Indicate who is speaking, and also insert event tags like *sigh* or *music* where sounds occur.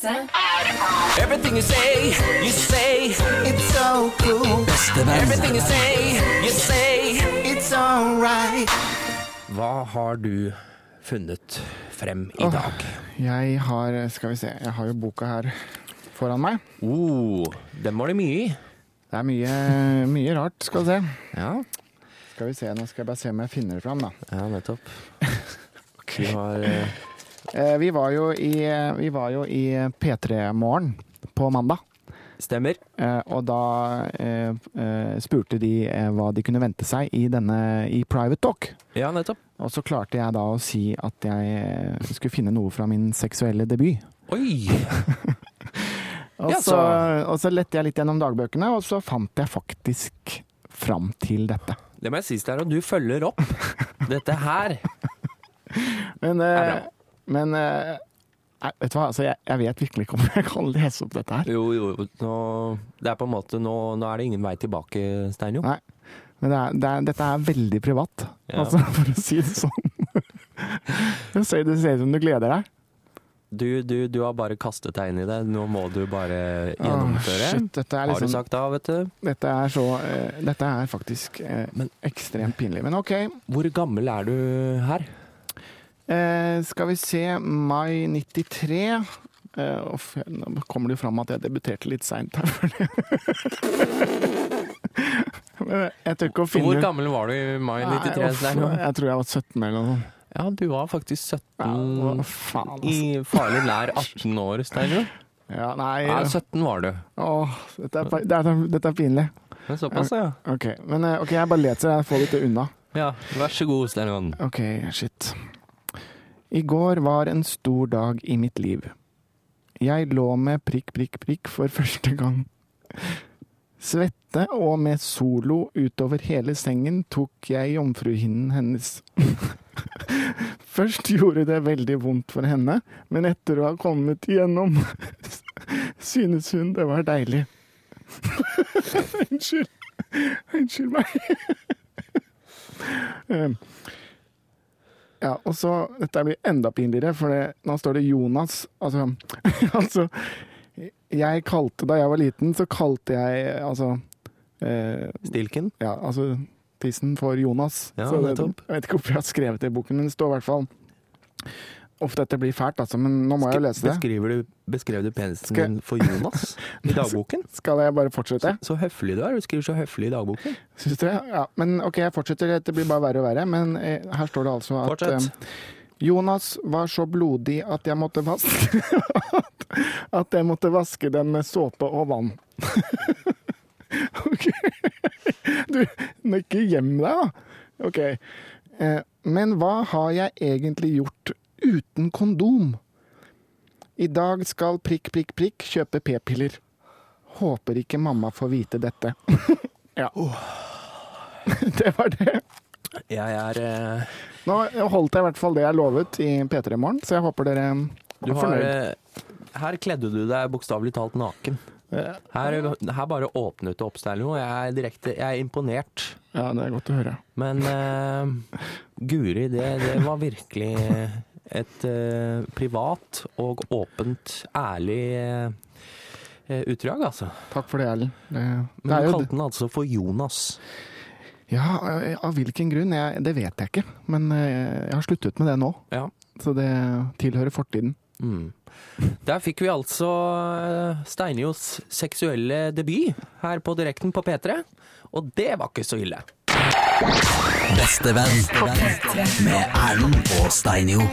Speaker 1: seg.
Speaker 2: Everything you say, you say
Speaker 3: It's so cool,
Speaker 2: Everything you say, you say
Speaker 3: it's alright.
Speaker 2: Hva har du funnet frem i dag?
Speaker 4: Jeg har Skal vi se, jeg har jo boka her foran meg.
Speaker 2: Oh, den var det mye i.
Speaker 4: Det er mye, mye rart, skal vi se.
Speaker 2: Ja,
Speaker 4: Skal vi se, Nå skal jeg bare se om jeg finner det fram, da.
Speaker 2: ja *laughs* nettopp. Vi har eh,
Speaker 4: Eh, Vi var jo i, vi var jo i P3-morgen på mandag.
Speaker 2: Stemmer.
Speaker 4: Eh, og da eh, eh, spurte de eh, hva de kunne vente seg i denne i private talk.
Speaker 2: Ja, nettopp.
Speaker 4: Og så klarte jeg da å si at jeg eh, skulle finne noe fra min seksuelle debut.
Speaker 2: Oi!
Speaker 4: Og,
Speaker 2: Ja,
Speaker 4: så,
Speaker 2: så-
Speaker 4: og så lette jeg litt gjennom dagbøkene, og så fant jeg faktisk fram til dette.
Speaker 2: Det må jeg si til deg, og du følger opp dette *laughs* her.
Speaker 4: Men, eh,
Speaker 2: er bra.
Speaker 4: men eh, jeg- vet du hva, altså, jeg, jeg vet virkelig ikke om jeg kan lese opp dette her.
Speaker 2: Jo, jo, nå, det er på en måte Nå, nå er det ingen vei tilbake, Steinjo.
Speaker 4: Nei. Men det er, det er, dette er veldig privat,
Speaker 2: Ja.
Speaker 4: altså, for å si det sånn. *laughs* Det ser det ser ut som du gleder deg.
Speaker 2: Du, du, du har bare kastet deg inn i det. Nå må du bare gjennomføre.
Speaker 4: Åh, shit, dette er
Speaker 2: Har du
Speaker 4: liksom
Speaker 2: sagt da, vet du?
Speaker 4: Dette er så eh, Dette er faktisk eh,
Speaker 2: Men-
Speaker 4: ekstremt pinlig. Men OK.
Speaker 2: Hvor gammel er du her?
Speaker 4: Eh, skal vi se. Mai 93. Eh, uff, nå kommer det jo fram at jeg debuterte litt seint her. for det. *laughs* Men jeg tør ikke å finne
Speaker 2: Hvor gammel var du i mai
Speaker 4: Nei,
Speaker 2: 93?
Speaker 4: uff,
Speaker 2: Steinar?
Speaker 4: Jeg tror jeg var 17 eller noe sånt.
Speaker 2: Ja, du var faktisk 17
Speaker 4: Ja,
Speaker 2: Mm.
Speaker 4: hva faen,
Speaker 2: I
Speaker 4: altså.
Speaker 2: farlig nær 18 år, Steinar.
Speaker 4: *laughs* Ja, nei,
Speaker 2: Ja, 17 var du.
Speaker 4: åh, dette, er, pa- det er, dette er pinlig.
Speaker 2: Men såpass, ja.
Speaker 4: Ok, men eh, ok, jeg bare leser, jeg får dette unna.
Speaker 2: ja. Vær så god, Steinar.
Speaker 4: Ok, shit. I går var en stor dag i mitt liv. Jeg lå med prikk, prikk, prikk for *laughs* første gang. Svette og med solo utover hele sengen tok jeg jomfruhinnen hennes. *laughs* Først gjorde det veldig vondt for henne, men etter å ha kommet igjennom, *laughs* synes hun det var deilig. *laughs* Unnskyld. Unnskyld meg. *laughs* Eh, ja, og så, Dette blir enda pinligere, for det, nå står det Jonas. Altså, *laughs* altså Jeg kalte Da jeg var liten, så kalte jeg altså, eh,
Speaker 2: Stilken?
Speaker 4: ja, altså tissen for Jonas.
Speaker 2: Ja,
Speaker 4: så det,
Speaker 2: nettopp.
Speaker 4: jeg vet ikke hvorfor jeg har skrevet det i boken, men det står i hvert fall Uff, dette blir fælt, altså, men nå må jeg jo lese det.
Speaker 2: Beskriver du, beskrev du penisen
Speaker 4: Skal-
Speaker 2: din for
Speaker 4: *laughs*
Speaker 2: Jonas i dagboken?
Speaker 4: Skal jeg bare fortsette?
Speaker 2: Så høflig du er. Du skriver så høflig i dagboken.
Speaker 4: Syns dere? Ja, men ok, jeg fortsetter. Dette blir bare verre og verre. Men eh, her står det altså at
Speaker 2: Fortsett.
Speaker 4: eh, Jonas var så blodig at jeg måtte vaske *laughs* At jeg måtte vaske den med såpe og vann. *laughs* ok. Du, nå ikke gjem deg, da. Ok. Eh, men hva har jeg egentlig gjort uten kondom? I dag skal prikk, prikk, prikk kjøpe p-piller. Håper ikke mamma får vite dette. *laughs* ja. *laughs* det var det.
Speaker 2: Jeg er eh,
Speaker 4: Nå holdt jeg i hvert fall det jeg lovet i P3 Morgen, så jeg håper dere
Speaker 2: Du
Speaker 4: er
Speaker 2: har eh, Her kledde du deg bokstavelig talt naken.
Speaker 4: Eh,
Speaker 2: Her, her bare åpnet det opp, Steinar. og Jeg er direkte Jeg er imponert.
Speaker 4: Ja, det er godt å høre.
Speaker 2: Men eh, Guri, det, det var virkelig et eh, privat og åpent, ærlig eh, eh, utdrag, altså.
Speaker 4: Takk for det, Erlend. Det, det
Speaker 2: Men
Speaker 4: er
Speaker 2: du
Speaker 4: jo
Speaker 2: kalte den altså for Jonas.
Speaker 4: Ja, eh, av hvilken grunn? Jeg, det vet jeg ikke. Men eh, jeg har sluttet med det nå,
Speaker 2: Ja.
Speaker 4: så det tilhører fortiden.
Speaker 2: Mm. Der fikk vi altså eh, Steinjos seksuelle debut her på direkten på P3, og det var ikke så ille.
Speaker 1: På P3.
Speaker 3: Erlend og Steinjo.